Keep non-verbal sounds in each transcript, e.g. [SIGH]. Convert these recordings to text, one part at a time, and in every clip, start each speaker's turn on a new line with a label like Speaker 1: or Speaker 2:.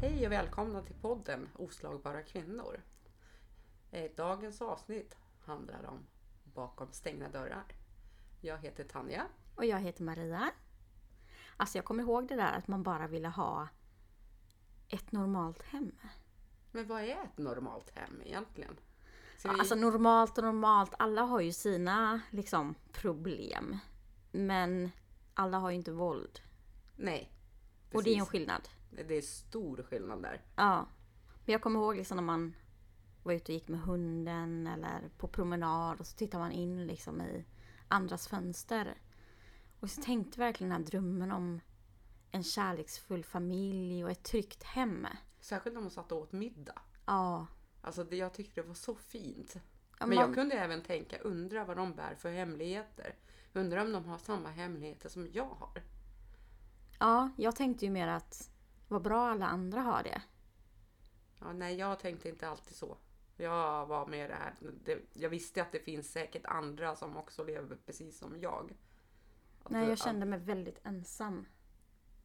Speaker 1: Hej och välkomna till podden Oslagbara kvinnor. Eh, Dagens avsnitt handlar om bakom stängda dörrar. Jag heter Tanja.
Speaker 2: Och jag heter Maria. Alltså jag kommer ihåg det där att man bara ville ha ett normalt hem.
Speaker 1: Men vad är ett normalt hem egentligen? Ska vi...
Speaker 2: Alltså normalt och normalt, alla har ju sina liksom problem. Men alla har ju inte våld.
Speaker 1: Nej.
Speaker 2: Och det är ju en
Speaker 1: precis.
Speaker 2: skillnad.
Speaker 1: det är stor skillnad där.
Speaker 2: Ja. Men jag kommer ihåg liksom när man var ute och gick med hunden eller på promenad och så tittar man in liksom i andras fönster. Och så tänkte verkligen den här drömmen om en kärleksfull familj och ett tryggt hem.
Speaker 1: Särskilt om man satt och åt middag.
Speaker 2: Ja.
Speaker 1: Alltså det, jag tyckte det var så fint.
Speaker 2: Ja,
Speaker 1: Men jag
Speaker 2: man-
Speaker 1: kunde även tänka, undra vad de bär för hemligheter. Undra om de har samma hemligheter som jag har.
Speaker 2: Ja, jag tänkte ju mer att vad bra alla andra har det.
Speaker 1: Ja, nej, jag tänkte inte alltid så. Jag var med det här. Det, jag visste att det finns säkert andra som också lever precis som jag. Att
Speaker 2: Nej,
Speaker 1: det-
Speaker 2: jag kände mig väldigt ensam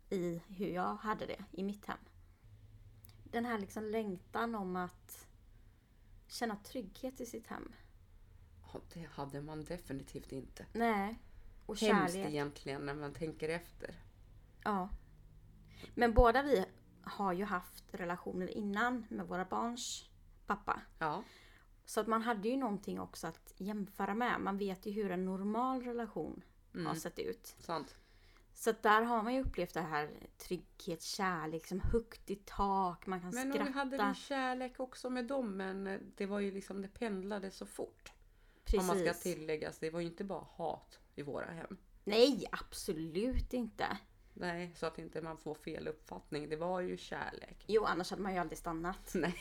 Speaker 2: i hur jag hade det i mitt hem. Den här liksom längtan om att känna trygghet i sitt hem.
Speaker 1: att- ja, det hade man definitivt inte.
Speaker 2: Nej, och
Speaker 1: Hemskt
Speaker 2: kärlek.
Speaker 1: egentligen när man tänker efter.
Speaker 2: Ja. Men båda vi har ju haft relationer innan med våra barns pappa.
Speaker 1: Ja,
Speaker 2: Så att man hade ju någonting också att jämföra med. Man vet ju hur en normal relation
Speaker 1: Mm.
Speaker 2: har sett ut.
Speaker 1: sant.
Speaker 2: Så att där har man ju upplevt det här trygghet, kärlek, som högt i tak, man kan
Speaker 1: Men nog
Speaker 2: skratta.
Speaker 1: hade vi kärlek också med dem, men det var ju liksom det pendlade så fort.
Speaker 2: Precis.
Speaker 1: Om man ska tilläggas, det var ju inte bara hat i våra hem.
Speaker 2: Nej, absolut inte.
Speaker 1: Nej, så att inte man får fel uppfattning. Det var ju kärlek. [LAUGHS]
Speaker 2: Jo, annars hade man ju aldrig stannat.
Speaker 1: Nej.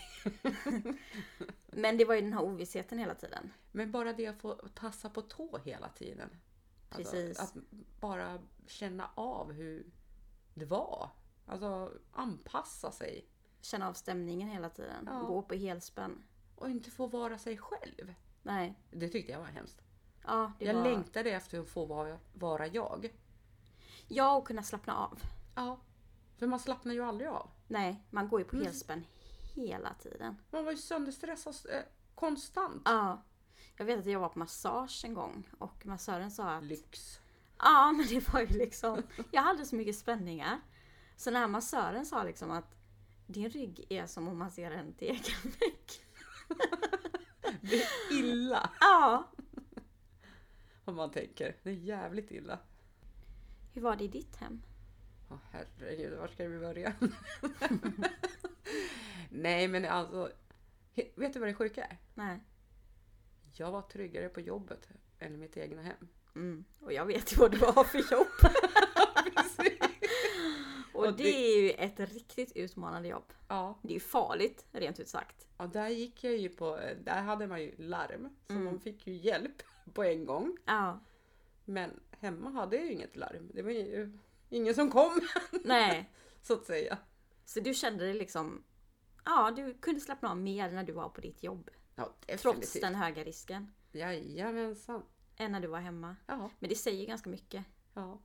Speaker 2: Men det var ju den här ovissheten hela tiden.
Speaker 1: Men bara det att få tassa på tå hela tiden.
Speaker 2: Precis.
Speaker 1: Alltså, att bara känna av hur det var. Alltså anpassa sig.
Speaker 2: Känna av stämningen hela tiden.
Speaker 1: Ja.
Speaker 2: Gå på helspänn.
Speaker 1: Och inte få vara sig själv.
Speaker 2: Nej.
Speaker 1: Det tyckte jag var hemskt.
Speaker 2: Ja, det
Speaker 1: jag
Speaker 2: var...
Speaker 1: längtade efter att få vara, vara jag.
Speaker 2: ja, och kunna slappna av.
Speaker 1: Ja. För man slappnar ju aldrig av.
Speaker 2: Nej, man går ju
Speaker 1: Mm.
Speaker 2: på helspänn hela tiden.
Speaker 1: Man var ju sönderstressad eh, konstant.
Speaker 2: Ja. Jag vet att jag var på massage en gång och massören sa att
Speaker 1: Lyx.
Speaker 2: Ja, men det var ju liksom... Jag hade så mycket spänningar. Så den här massören sa liksom att din rygg är som om man ser en tegelvägg.
Speaker 1: Det är illa [LAUGHS]
Speaker 2: Ja.
Speaker 1: om man tänker. Det är jävligt illa.
Speaker 2: Hur var det i ditt hem?
Speaker 1: Åh herregud, var ska vi börja? [LAUGHS] Nej men alltså, he- vet du vad det sjuka är?
Speaker 2: Nej.
Speaker 1: Jag var tryggare på jobbet än i mitt egna hem.
Speaker 2: Mm. Och jag vet ju vad du har för jobb.
Speaker 1: [LAUGHS] Ja,
Speaker 2: [LAUGHS] Och
Speaker 1: det-
Speaker 2: det är ju ett riktigt utmanande jobb.
Speaker 1: ja,
Speaker 2: Det är ju farligt, rent ut sagt.
Speaker 1: ja, där gick jag ju på, där hade man ju larm. Så man fick ju hjälp [LAUGHS] på en gång.
Speaker 2: Ja.
Speaker 1: Men hemma hade jag ju inget larm. Det var ju ingen som kom, [LAUGHS]
Speaker 2: Nej.
Speaker 1: så att säga.
Speaker 2: Så du kände dig liksom... Ja, du kunde slappna av mer när du var på ditt jobb.
Speaker 1: Ja,
Speaker 2: Trots den höga risken.
Speaker 1: Jajamensan.
Speaker 2: Än när du var hemma.
Speaker 1: Ja,
Speaker 2: Men det säger ganska mycket.
Speaker 1: ja.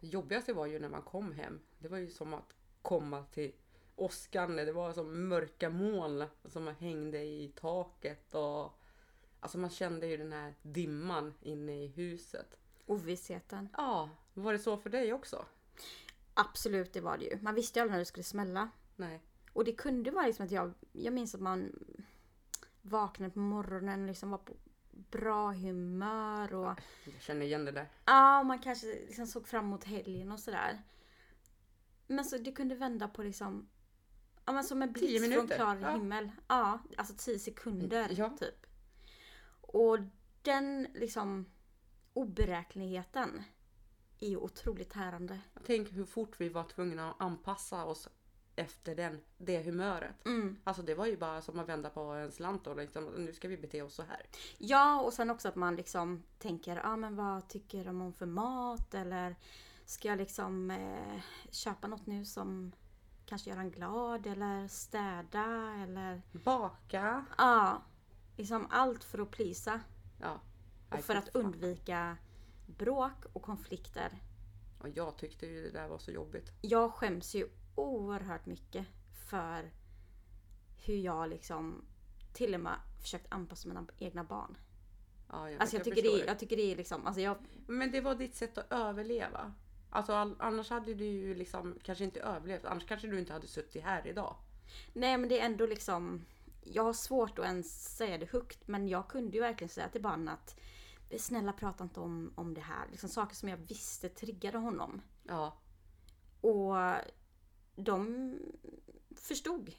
Speaker 1: Det jobbigaste var ju när man kom hem. Det var ju som att komma till åskande. Det var som mörka moln som hängde i taket. Och... Alltså man kände ju den här dimman inne i huset.
Speaker 2: Ovissheten.
Speaker 1: Ja, var det så för dig också?
Speaker 2: Absolut, det var det ju. Man visste ju aldrig när det skulle smälla.
Speaker 1: Nej.
Speaker 2: Och det kunde vara liksom att jag, jag minns att man vaknade på morgonen och liksom var på bra humör och
Speaker 1: Jag känner igen det där.
Speaker 2: ja, man kanske liksom såg fram emot helgen och sådär. Men så det kunde vända på liksom, ja men som en
Speaker 1: Tio
Speaker 2: blixt från
Speaker 1: minuter,
Speaker 2: klar
Speaker 1: ja.
Speaker 2: himmel. Ja, alltså tio sekunder
Speaker 1: Ja.
Speaker 2: typ. Och den liksom oberäkneligheten är ju otroligt tärande.
Speaker 1: Tänk hur fort vi var tvungna att anpassa oss efter den, det humöret.
Speaker 2: Mm.
Speaker 1: Alltså det var ju bara som att vända på en slant och liksom, nu ska vi bete oss så här.
Speaker 2: Ja, och sen också att man liksom tänker, ah, men vad tycker de om för mat? Eller ska jag liksom eh, köpa något nu som kanske gör han glad? Eller städa? Eller
Speaker 1: Baka.
Speaker 2: ja, liksom allt för att plisa
Speaker 1: Ja.
Speaker 2: och
Speaker 1: Nej,
Speaker 2: för
Speaker 1: fy
Speaker 2: att
Speaker 1: fan.
Speaker 2: undvika bråk och konflikter.
Speaker 1: Och jag tyckte ju det där var så jobbigt.
Speaker 2: Jag skäms ju oerhört mycket för hur jag liksom till och med försökt anpassa mina egna barn.
Speaker 1: Ja, vet,
Speaker 2: Alltså jag, tycker
Speaker 1: förstår
Speaker 2: det, är- jag tycker det är liksom, alltså jag,
Speaker 1: Men det var ditt sätt att överleva. Alltså all, annars hade du ju liksom kanske inte överlevt. Annars kanske du inte hade suttit här idag.
Speaker 2: nej men det är ändå liksom, jag har svårt att ens säga det högt men jag kunde ju verkligen säga till barnen att snälla prata inte om, om det här. Liksom saker som jag visste triggade honom.
Speaker 1: Ja,
Speaker 2: Och de förstod.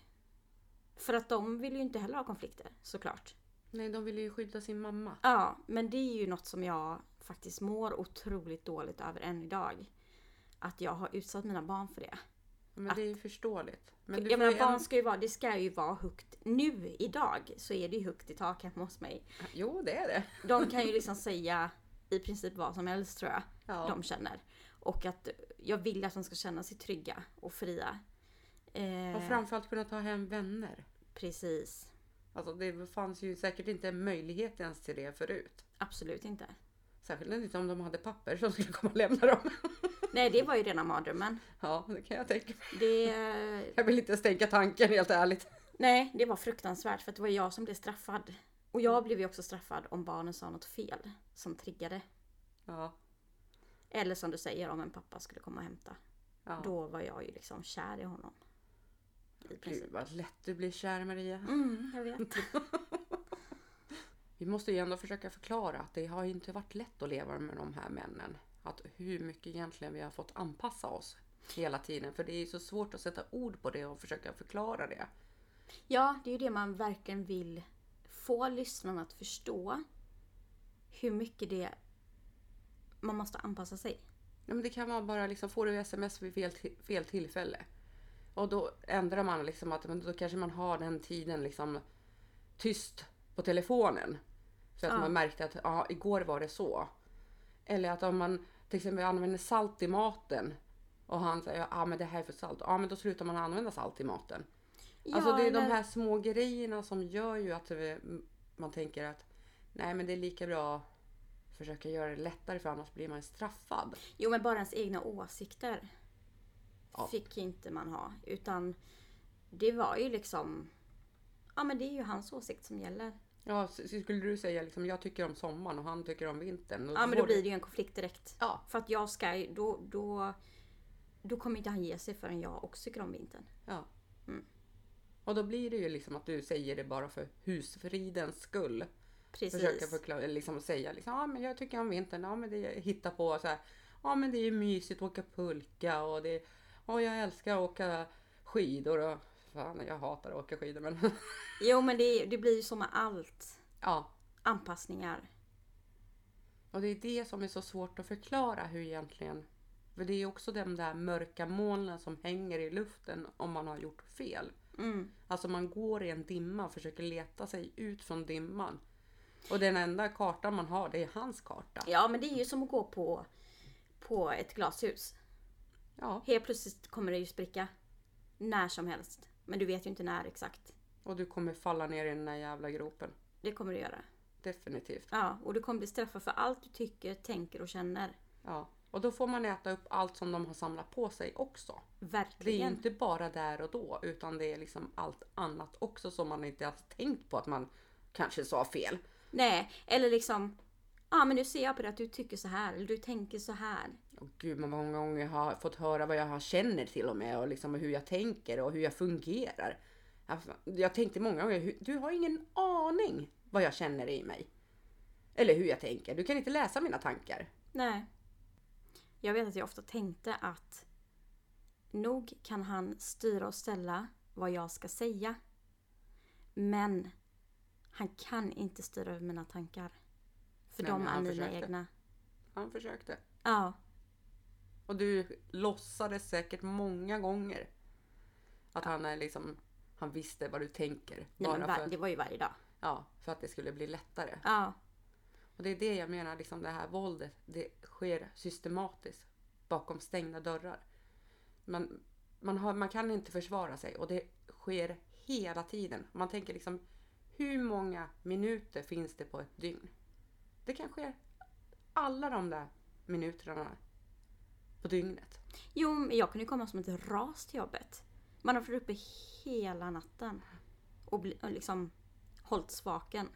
Speaker 2: För att de vill ju inte heller ha konflikter såklart.
Speaker 1: nej de ville ju skydda sin mamma.
Speaker 2: Ja, men det är ju något som jag faktiskt mår otroligt dåligt över än idag. Att jag har utsatt mina barn för det.
Speaker 1: Ja, Men det är ju förståeligt. Men du får
Speaker 2: jag menar
Speaker 1: ju
Speaker 2: barn
Speaker 1: ändå-
Speaker 2: ska ju vara, det ska ju vara högt. Nu idag så är det ju högt i tak hemma hos mig.
Speaker 1: Jo, det är det.
Speaker 2: De kan ju liksom säga i princip vad som helst tror jag.
Speaker 1: Ja.
Speaker 2: de känner. Och att jag vill att de ska känna sig trygga och fria. Eh,
Speaker 1: Och framförallt kunna ta hem vänner.
Speaker 2: Precis.
Speaker 1: Alltså det fanns ju säkert inte en möjlighet ens till det förut.
Speaker 2: Absolut inte.
Speaker 1: Särskilt inte om de hade papper som skulle komma och lämna dem.
Speaker 2: Nej, det var ju rena mardrömmen.
Speaker 1: Ja, det kan jag tänka mig.
Speaker 2: Det,
Speaker 1: Jag vill inte ens tänka tanken helt ärligt.
Speaker 2: nej, det var fruktansvärt för att det var jag som blev straffad. Och jag blev ju också straffad om barnen sa något fel som triggade.
Speaker 1: Ja,
Speaker 2: Eller som du säger, om en pappa skulle komma och hämta.
Speaker 1: ja.
Speaker 2: Då var jag ju liksom kär i honom. I princip.
Speaker 1: Gud vad lätt du blir kär Maria.
Speaker 2: Mm, jag vet.
Speaker 1: Vi måste ju ändå försöka förklara att det har ju inte varit lätt att leva med de här männen. Att hur mycket egentligen vi har fått anpassa oss hela tiden. För det är ju så svårt att sätta ord på det och försöka förklara det.
Speaker 2: Ja, det är ju det man verkligen vill få lyssnarna att förstå. Hur mycket det man måste anpassa sig.
Speaker 1: Ja, men det kan vara bara liksom, får du sms vid fel, ti- fel tillfälle? Och då ändrar man liksom att men då kanske man har den tiden liksom tyst på telefonen. Så att
Speaker 2: Ja.
Speaker 1: man märkte att ja, igår var det så. Eller att om man till exempel använder salt i maten och han säger ja men det här är för salt. Ja men då slutar man använda salt i maten. alltså det är de
Speaker 2: eller-
Speaker 1: här små grejerna som gör ju att eh, man tänker att nej men det är lika bra att försöka göra det lättare för annars blir man straffad.
Speaker 2: Jo men bara ens egna åsikter
Speaker 1: Ja.
Speaker 2: fick inte man ha. Utan det var ju liksom, ja men det är ju hans åsikt som gäller.
Speaker 1: Ja, så så skulle du säga liksom, jag tycker om sommaren och han tycker om vintern. och
Speaker 2: Ja men
Speaker 1: får
Speaker 2: då blir det ju en konflikt direkt.
Speaker 1: Ja,
Speaker 2: För att jag ska ju- då, då, då kommer inte han ge sig förrän jag också tycker om vintern.
Speaker 1: ja.
Speaker 2: Mm.
Speaker 1: Och då blir det ju liksom att du säger det bara för husfridens skull.
Speaker 2: Precis.
Speaker 1: Försöka förklara, eller liksom säga liksom, ja men jag tycker om vintern, ja men det hitta på så här. Ja men det är ju mysigt att åka pulka och det, ja jag älskar att åka skidor och fan jag hatar att åka skidor men [LAUGHS]
Speaker 2: Jo men det, det blir ju så med allt.
Speaker 1: ja.
Speaker 2: Anpassningar.
Speaker 1: Och det är det som är så svårt att förklara hur egentligen. För det är också de där mörka molnen som hänger i luften om man har gjort fel.
Speaker 2: Mm.
Speaker 1: Alltså man går i en dimma och försöker leta sig ut från dimman. Och den enda kartan man har, det är hans karta.
Speaker 2: Ja men det är ju som att gå på, på ett glashus.
Speaker 1: Ja,
Speaker 2: Helt plötsligt kommer det ju spricka. När som helst. Men du vet ju inte när exakt.
Speaker 1: och du kommer falla ner i den där jävla gropen.
Speaker 2: Det kommer du göra.
Speaker 1: Definitivt.
Speaker 2: Ja, och du kommer bli straffad för allt du tycker, tänker och känner.
Speaker 1: Ja. Och då får man äta upp allt som de har samlat på sig också. Det är ju
Speaker 2: Verkligen.
Speaker 1: inte bara där och då, utan det är liksom allt annat också som man inte ens tänkt på att man kanske sa fel.
Speaker 2: Nej, eller liksom. Ja, men nu ser jag på det att du tycker så här, eller du tänker så här.
Speaker 1: Åh gud, men många gånger har jag fått höra vad jag känner till och med och liksom hur jag tänker och hur jag fungerar. Alltså, Jag tänkte många gånger, "Hur- du har ingen aning vad jag känner i mig. Eller hur jag tänker. Du kan inte läsa mina tankar.
Speaker 2: Nej. Jag vet att jag ofta tänkte att nog kan han styra och ställa vad jag ska säga. Men han kan inte styra över mina tankar. För
Speaker 1: Nej,
Speaker 2: de
Speaker 1: men
Speaker 2: är
Speaker 1: han
Speaker 2: mina
Speaker 1: försökte.
Speaker 2: egna.
Speaker 1: Han försökte.
Speaker 2: Ja,
Speaker 1: Och du låtsades säkert många gånger att han är liksom, han visste vad du tänker.
Speaker 2: nej, men
Speaker 1: Bara
Speaker 2: var,
Speaker 1: för,
Speaker 2: det var ju varje dag.
Speaker 1: ja, för att det skulle bli lättare.
Speaker 2: Ja,
Speaker 1: Och det är det jag menar, liksom det här våldet, det sker systematiskt bakom stängda dörrar. Man, man, har, man kan inte försvara sig och det sker hela tiden. Man tänker liksom, hur många minuter finns det på ett dygn? Det kan ske alla de där minuterna på dygnet. [LAUGHS]
Speaker 2: Jo, men jag kunde ju komma som ett ras till jobbet. Man har varit uppe hela natten och, bli, och liksom hållit svaken.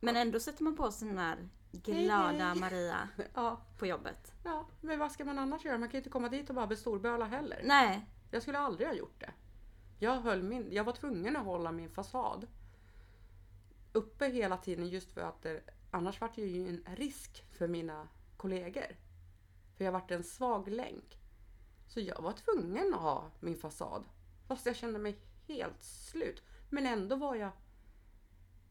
Speaker 2: Men ändå sätter man på sig den här glada
Speaker 1: Hej, hej.
Speaker 2: Maria
Speaker 1: Ja,
Speaker 2: på jobbet.
Speaker 1: ja, men vad ska man annars göra? Man kan ju inte komma dit och bara bestorböla heller.
Speaker 2: Nej,
Speaker 1: Jag skulle aldrig ha gjort det. Jag, höll min, jag var tvungen att hålla min fasad uppe hela tiden just för att det, annars var det ju en risk för mina kollegor. För jag vart en svag länk. Så jag var tvungen att ha min fasad. Fast jag kände mig helt slut. Men ändå var jag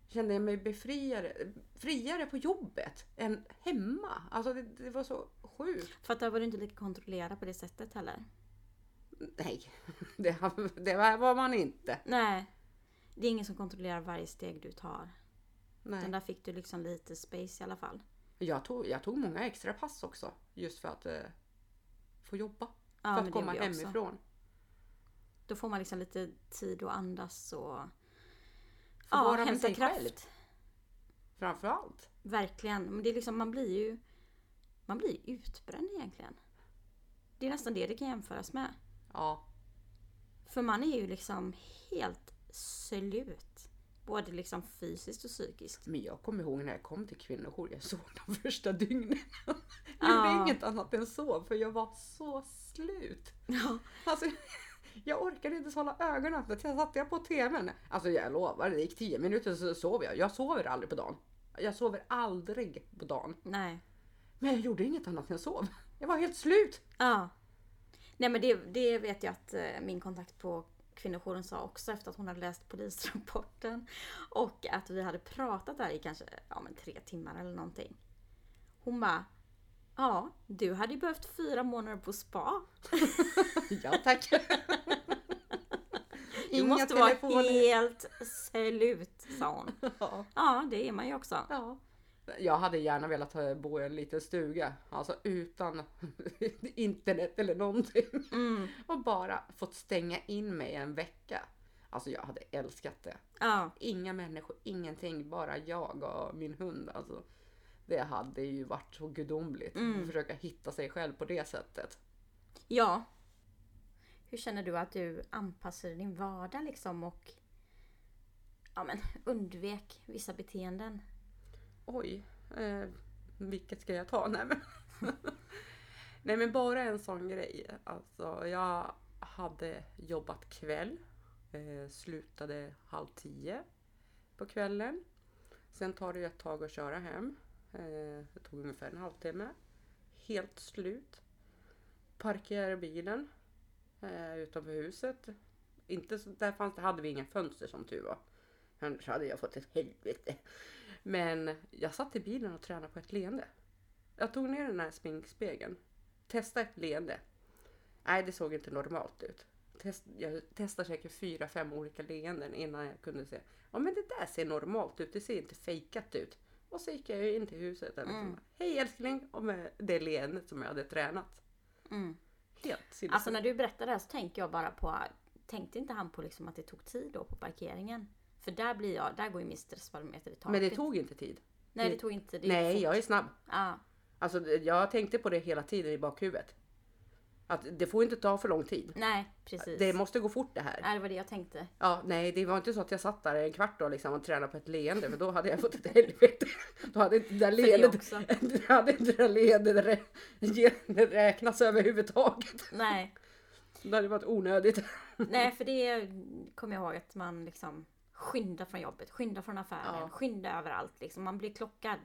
Speaker 1: kände jag mig befriare, friare på jobbet än hemma. Alltså det, det var så sjukt.
Speaker 2: för att där var du inte lika kontrollerad på det sättet heller.
Speaker 1: Nej, [LAUGHS] det, det var man inte.
Speaker 2: Nej. Det är ingen som kontrollerar varje steg du tar.
Speaker 1: Nej.
Speaker 2: Den där fick du liksom lite space i alla fall.
Speaker 1: Jag tog, jag tog många extra pass också. Just för att eh, få jobba.
Speaker 2: Ja,
Speaker 1: för
Speaker 2: men
Speaker 1: att
Speaker 2: det
Speaker 1: komma
Speaker 2: gjorde jag också.
Speaker 1: hemifrån.
Speaker 2: Då får man liksom lite tid att andas och
Speaker 1: Få
Speaker 2: ja,
Speaker 1: vara med
Speaker 2: hämta
Speaker 1: sig
Speaker 2: kraft.
Speaker 1: själv. Framförallt.
Speaker 2: Verkligen. Men det är liksom, man blir ju man blir utbränd egentligen. Det är nästan det det kan jämföras med.
Speaker 1: Ja,
Speaker 2: För man är ju liksom helt slut. Både liksom fysiskt och psykiskt.
Speaker 1: men jag kommer ihåg när jag kom till kvinnojour. Jag sov de första dygnen. [LAUGHS] Jag
Speaker 2: Ja.
Speaker 1: gjorde inget annat än sov för jag var så slut.
Speaker 2: Ja.
Speaker 1: Alltså, [LAUGHS] jag orkade inte ens hålla ögonen öppna. Jag satt jag på TVn. Alltså jag lovar, det gick 10 minuter så sov jag. Jag sover aldrig på dagen. Jag sover aldrig på dagen.
Speaker 2: Nej.
Speaker 1: Men jag gjorde inget annat än sov. Jag var helt slut.
Speaker 2: Ja. Nej men det, det vet jag att eh, min kontakt på kvinnojouren sa också efter att hon hade läst polisrapporten. Och att vi hade pratat där i kanske ja, men tre timmar eller någonting. Hon bara Ja, du hade ju behövt fyra månader på spa.
Speaker 1: Ja [LAUGHS] tack.
Speaker 2: Du måste vara helt slut, sa hon.
Speaker 1: Ja.
Speaker 2: Ja, det är man ju också.
Speaker 1: ja. Jag hade gärna velat eh, bo i en liten stuga, alltså utan [LAUGHS] internet eller någonting.
Speaker 2: Mm,
Speaker 1: Och bara fått stänga in mig en vecka. Alltså jag hade älskat det.
Speaker 2: ja,
Speaker 1: Inga människor, ingenting, bara jag och min hund. Alltså, det hade ju varit så gudomligt.
Speaker 2: Mm.
Speaker 1: Att försöka hitta sig själv på det sättet.
Speaker 2: ja. Hur känner du att du anpassade din vardag liksom och ja, men, undvek vissa beteenden?
Speaker 1: Oj, eh, vilket ska jag ta? Nej men. [LAUGHS] Nej men bara en sån grej. Alltså jag hade jobbat kväll. Eh, slutade halv tio på kvällen. Sen tar det ju ett tag att köra hem. Eh, det tog ungefär en halvtimme. Helt slut. Parkerar bilen eh, utanför huset. Inte så, där fanns, hade vi inga fönster som tur var. Annars hade jag fått ett helvete. Men jag satt i bilen och tränade på ett leende. Jag tog ner den här sminkspegeln. Testade ett leende. Nej, det såg inte normalt ut. Test, jag testade säkert fyra, fem olika leenden innan jag kunde se. Ja, men det där ser normalt ut. Det ser inte fejkat ut. Och så gick jag ju in till huset. Där liksom,
Speaker 2: Mm.
Speaker 1: Hej älskling! Och med det leendet som jag hade tränat.
Speaker 2: Mm.
Speaker 1: Helt sinnes.
Speaker 2: Alltså när du berättar det här så tänker jag bara på, tänkte inte han på liksom att det tog tid då på parkeringen? För där blir jag, där går ju min stressbarometer i taket.
Speaker 1: men det tog inte tid.
Speaker 2: Nej det tog inte, det gick
Speaker 1: Nej,
Speaker 2: fort.
Speaker 1: jag är snabb.
Speaker 2: Ja,
Speaker 1: Alltså, det- jag tänkte på det hela tiden i bakhuvudet. Att det får inte ta för lång tid.
Speaker 2: nej precis.
Speaker 1: Det måste gå fort det här.
Speaker 2: Nej, det var det jag tänkte.
Speaker 1: Ja, nej, det var inte så att jag satt där en kvart då, liksom, och tränade på ett leende för då hade jag fått ett [LAUGHS] helvete. Då hade inte det där
Speaker 2: det
Speaker 1: leendet,
Speaker 2: också.
Speaker 1: [LAUGHS] då hade inte det där leendet rä, ge- räknats överhuvudtaget.
Speaker 2: Nej.
Speaker 1: Det hade varit onödigt.
Speaker 2: Nej, för det kommer jag ihåg att man liksom skyndar från jobbet, skyndar från affären,
Speaker 1: Ja.
Speaker 2: skyndar överallt. Liksom. Man blir klockad.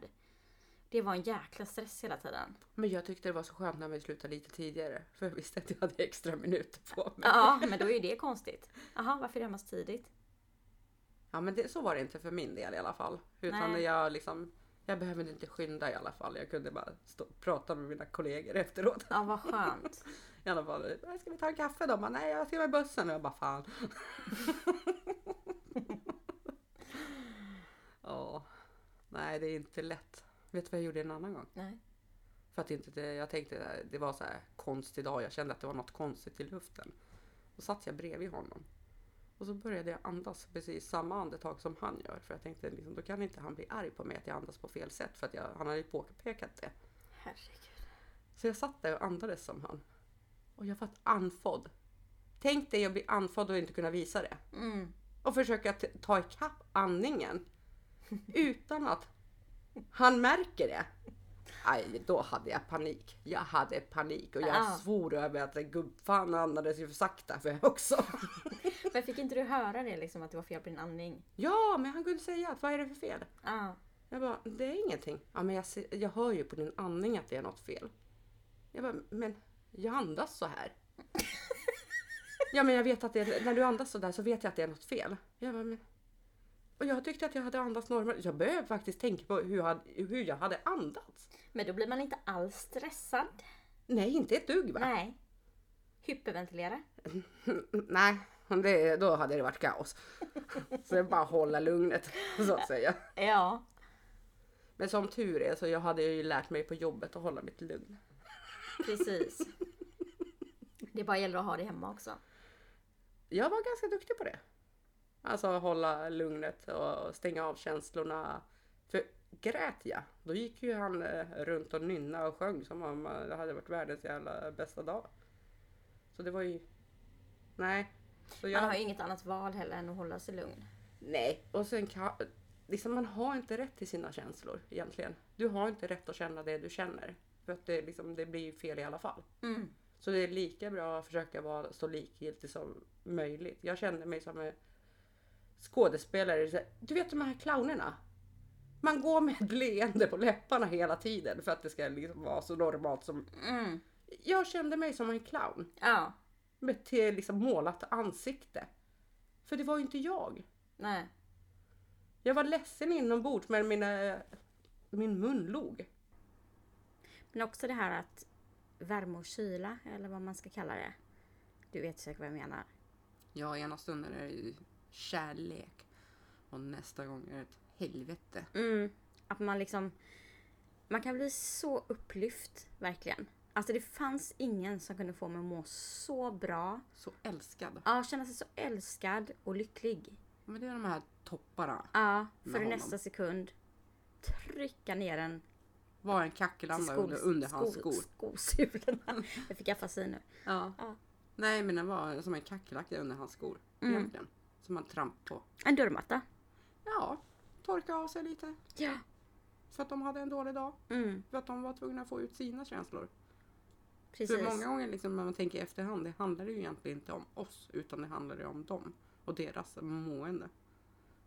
Speaker 2: Det var en jäkla stress hela tiden.
Speaker 1: Men jag tyckte det var så skönt när vi slutade lite tidigare för jag visste att jag hade extra minuter på mig.
Speaker 2: Ja, men då är ju det konstigt. Jaha, varför är det hemma så tidigt?
Speaker 1: Ja, men det, så var det inte för min del i alla fall. Utan
Speaker 2: Nej.
Speaker 1: jag liksom, jag behövde inte skynda i alla fall. Jag kunde bara stå, prata med mina kollegor efteråt. [LAUGHS]
Speaker 2: Ja, vad skönt.
Speaker 1: I alla fall, "Äh, ska vi ta en kaffe då? Man, Nej, jag ska med bussen. Och jag bara, fan. [LAUGHS] Ja, nej det är inte lätt. Vet du vad jag gjorde en annan gång?
Speaker 2: Nej.
Speaker 1: För att inte det, jag tänkte att det var så här konstig dag. Jag kände att det var något konstigt i luften. Då satt jag bredvid honom. Och så började jag andas precis samma andetag som han gör. För jag tänkte liksom, då kan inte han bli arg på mig att jag andas på fel sätt. För att jag, han hade ju påpekat det.
Speaker 2: Herregud.
Speaker 1: Så jag satt där och andades som han. Och jag var anfådd. Tänk dig att bli andfådd och inte kunna visa det.
Speaker 2: Mm.
Speaker 1: Och försöka t- ta ikapp andningen. Utan att han märker det. Aj, då hade jag panik. Jag hade panik och jag
Speaker 2: Ja.
Speaker 1: svor över att gubbfan andades ju för sakta för också.
Speaker 2: Men fick inte du höra det liksom att det var fel på din andning?
Speaker 1: ja, men han kunde säga att vad är det för fel?
Speaker 2: Ja.
Speaker 1: Jag bara, det är ingenting. Ja, men jag, ser, jag hör ju på din andning att det är något fel. Jag bara, men jag andas så här. ja, men jag vet att det är, när du andas så där så vet jag att det är något fel. Jag bara, men... Och jag tyckte att jag hade andats normalt. Jag började faktiskt tänka på hur jag, hade- hur jag hade andats.
Speaker 2: Men då blir man inte alls stressad.
Speaker 1: Nej, inte ett dugg va?
Speaker 2: Nej. Hyperventilera.
Speaker 1: Nej, det, då hade det varit kaos. [LAUGHS] Så jag bara hålla lugnet, så att säga.
Speaker 2: Ja.
Speaker 1: Men som tur är så jag hade ju lärt mig på jobbet att hålla mitt lugn.
Speaker 2: Precis. Det bara gäller att ha det hemma också.
Speaker 1: jag var ganska duktig på det. Alltså hålla lugnet och stänga av känslorna. För grät jag, då gick ju han eh, runt och nynna och sjöng som om eh, det hade varit världens jävla bästa dag. Så det var ju... Nej. Så
Speaker 2: Man har
Speaker 1: jag...
Speaker 2: ju inget annat val heller än att hålla sig lugn.
Speaker 1: Nej. Och sen kan... Liksom man har inte rätt till sina känslor egentligen. Du har inte rätt att känna det du känner. För att det, liksom, det blir ju fel i alla fall.
Speaker 2: Mm.
Speaker 1: Så det är lika bra att försöka vara så likgiltig som möjligt. Jag kände mig som en skådespelare. Så här, Du vet de här clownerna? Man går med ett leende på läpparna hela tiden för att det ska liksom vara så normalt som...
Speaker 2: Mm.
Speaker 1: Jag kände mig som en clown.
Speaker 2: Ja.
Speaker 1: Med ett liksom målat ansikte. För det var ju inte jag.
Speaker 2: Nej.
Speaker 1: Jag var ledsen inombords men mina, min mun log.
Speaker 2: Men också det här att värme och kyla, eller vad man ska kalla det. Du vet säkert vad jag menar.
Speaker 1: Ja, ena stunden är det ju kärlek. Och nästa gång är det ett helvete.
Speaker 2: Mm. Att man liksom... Man kan bli så upplyft, verkligen. Alltså det fanns ingen som kunde få mig att må så bra.
Speaker 1: Så älskad.
Speaker 2: Ja, känna sig så älskad och lycklig.
Speaker 1: Men det är de här topparna.
Speaker 2: Ja,
Speaker 1: Med
Speaker 2: för i
Speaker 1: honom.
Speaker 2: nästa sekund trycka ner den
Speaker 1: Var en
Speaker 2: till
Speaker 1: kackerlanda
Speaker 2: skos-
Speaker 1: under, under hans skor.
Speaker 2: skos-
Speaker 1: [LAUGHS]
Speaker 2: skosulorna. Jag fick afasi nu.
Speaker 1: Ja.
Speaker 2: Ja.
Speaker 1: Nej men den var som en kackerlacka under hans skor.
Speaker 2: Mm.
Speaker 1: Egentligen. Som man tramp på.
Speaker 2: En dörrmatta.
Speaker 1: Ja, torka av sig lite.
Speaker 2: Ja.
Speaker 1: För att de hade en dålig dag.
Speaker 2: Mm,
Speaker 1: För att de var tvungna att få ut sina känslor.
Speaker 2: precis.
Speaker 1: För många gånger liksom, när man tänker i efterhand, det handlar ju egentligen inte om oss. Utan det handlar ju om dem. Och deras mående.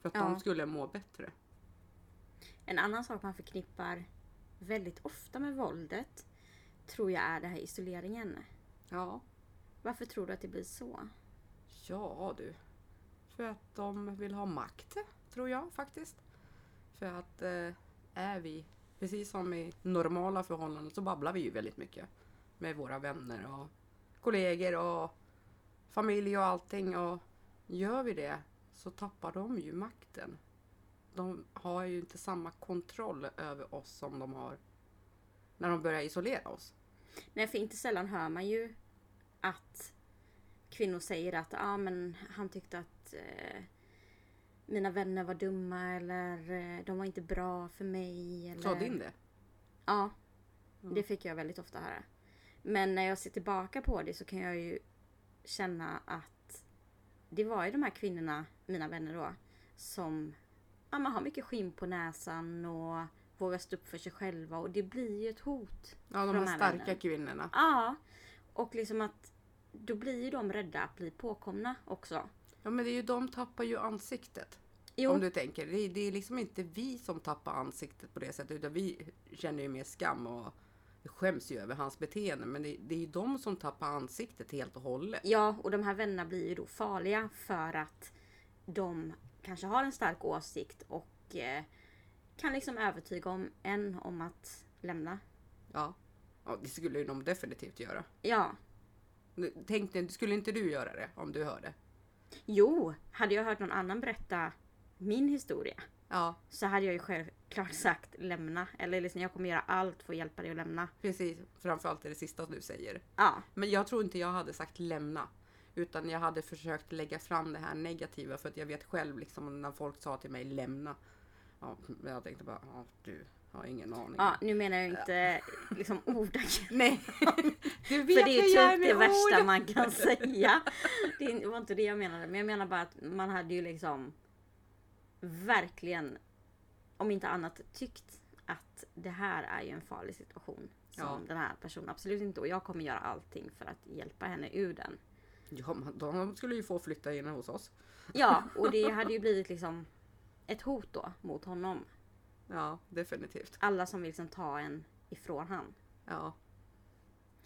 Speaker 1: För att
Speaker 2: Ja.
Speaker 1: de skulle må bättre.
Speaker 2: En annan sak man förknippar väldigt ofta med våldet tror jag är det här isoleringen.
Speaker 1: Ja.
Speaker 2: Varför tror du att det blir så?
Speaker 1: Ja du. För att de vill ha makt, tror jag faktiskt. För att eh, är vi, precis som i normala förhållanden, så babblar vi ju väldigt mycket. Med våra vänner och kollegor och familj och allting. Och gör vi det så tappar de ju makten. De har ju inte samma kontroll över oss som de har när de börjar isolera oss.
Speaker 2: Nej, för inte sällan hör man ju att kvinnor säger att ah, men han tyckte att eh, mina vänner var dumma eller eh, de var inte bra för mig. Eller...
Speaker 1: Sa din det?
Speaker 2: Ja, det fick jag väldigt ofta höra. Men när jag ser tillbaka på det så kan jag ju känna att det var ju de här kvinnorna, mina vänner då, som ja, man har mycket skinn på näsan och vågar stå upp för sig själva och det blir ju ett hot.
Speaker 1: Ja, de
Speaker 2: Från
Speaker 1: här
Speaker 2: männen.
Speaker 1: starka kvinnorna.
Speaker 2: Ja, och liksom att då blir ju de rädda att bli påkomna också.
Speaker 1: Ja men det är ju de tappar ju ansiktet.
Speaker 2: Jo,
Speaker 1: Om du tänker. Det är, det är liksom inte vi som tappar ansiktet på det sättet. Utan vi känner ju mer skam och skäms ju över hans beteende. Men det, det är ju de som tappar ansiktet helt och hållet.
Speaker 2: Ja, och de här vännerna blir ju då farliga för att de kanske har en stark åsikt och eh, kan liksom övertyga om en om att lämna.
Speaker 1: Ja. ja det skulle ju de definitivt göra.
Speaker 2: Ja,
Speaker 1: Nu- Tänk dig, skulle inte du göra det om du hörde?
Speaker 2: jo, hade jag hört någon annan berätta min historia
Speaker 1: Ja,
Speaker 2: så hade jag ju självklart [LAUGHS] sagt lämna. Eller liksom jag kommer göra allt för att hjälpa dig att lämna.
Speaker 1: precis. Framförallt det sista du säger.
Speaker 2: Ja,
Speaker 1: Men jag tror inte jag hade sagt lämna. Utan jag hade försökt lägga fram det här negativa för att jag vet själv liksom när folk sa till mig lämna. Ja, men jag tänkte bara, ja, du, Jag har ingen aning.
Speaker 2: Ja, nu menar jag inte liksom ordagrant.
Speaker 3: Nej.
Speaker 1: Du
Speaker 2: För det är
Speaker 1: jag
Speaker 2: typ det
Speaker 1: med
Speaker 2: värsta
Speaker 1: ord.
Speaker 2: man
Speaker 1: [LAUGHS]
Speaker 2: kan säga. Det var inte det jag menade. Men jag menar bara att man hade ju liksom verkligen, om inte annat, tyckt att det här är ju en farlig situation. Som
Speaker 1: Ja.
Speaker 2: den här personen absolut inte. Och jag kommer göra allting för att hjälpa henne ur den.
Speaker 1: Ja, men de skulle ju få flytta in hos oss.
Speaker 2: Ja, och det hade ju blivit liksom ett hot då mot honom.
Speaker 1: Ja, definitivt.
Speaker 2: Alla som vill liksom ta en ifrån han.
Speaker 1: Ja,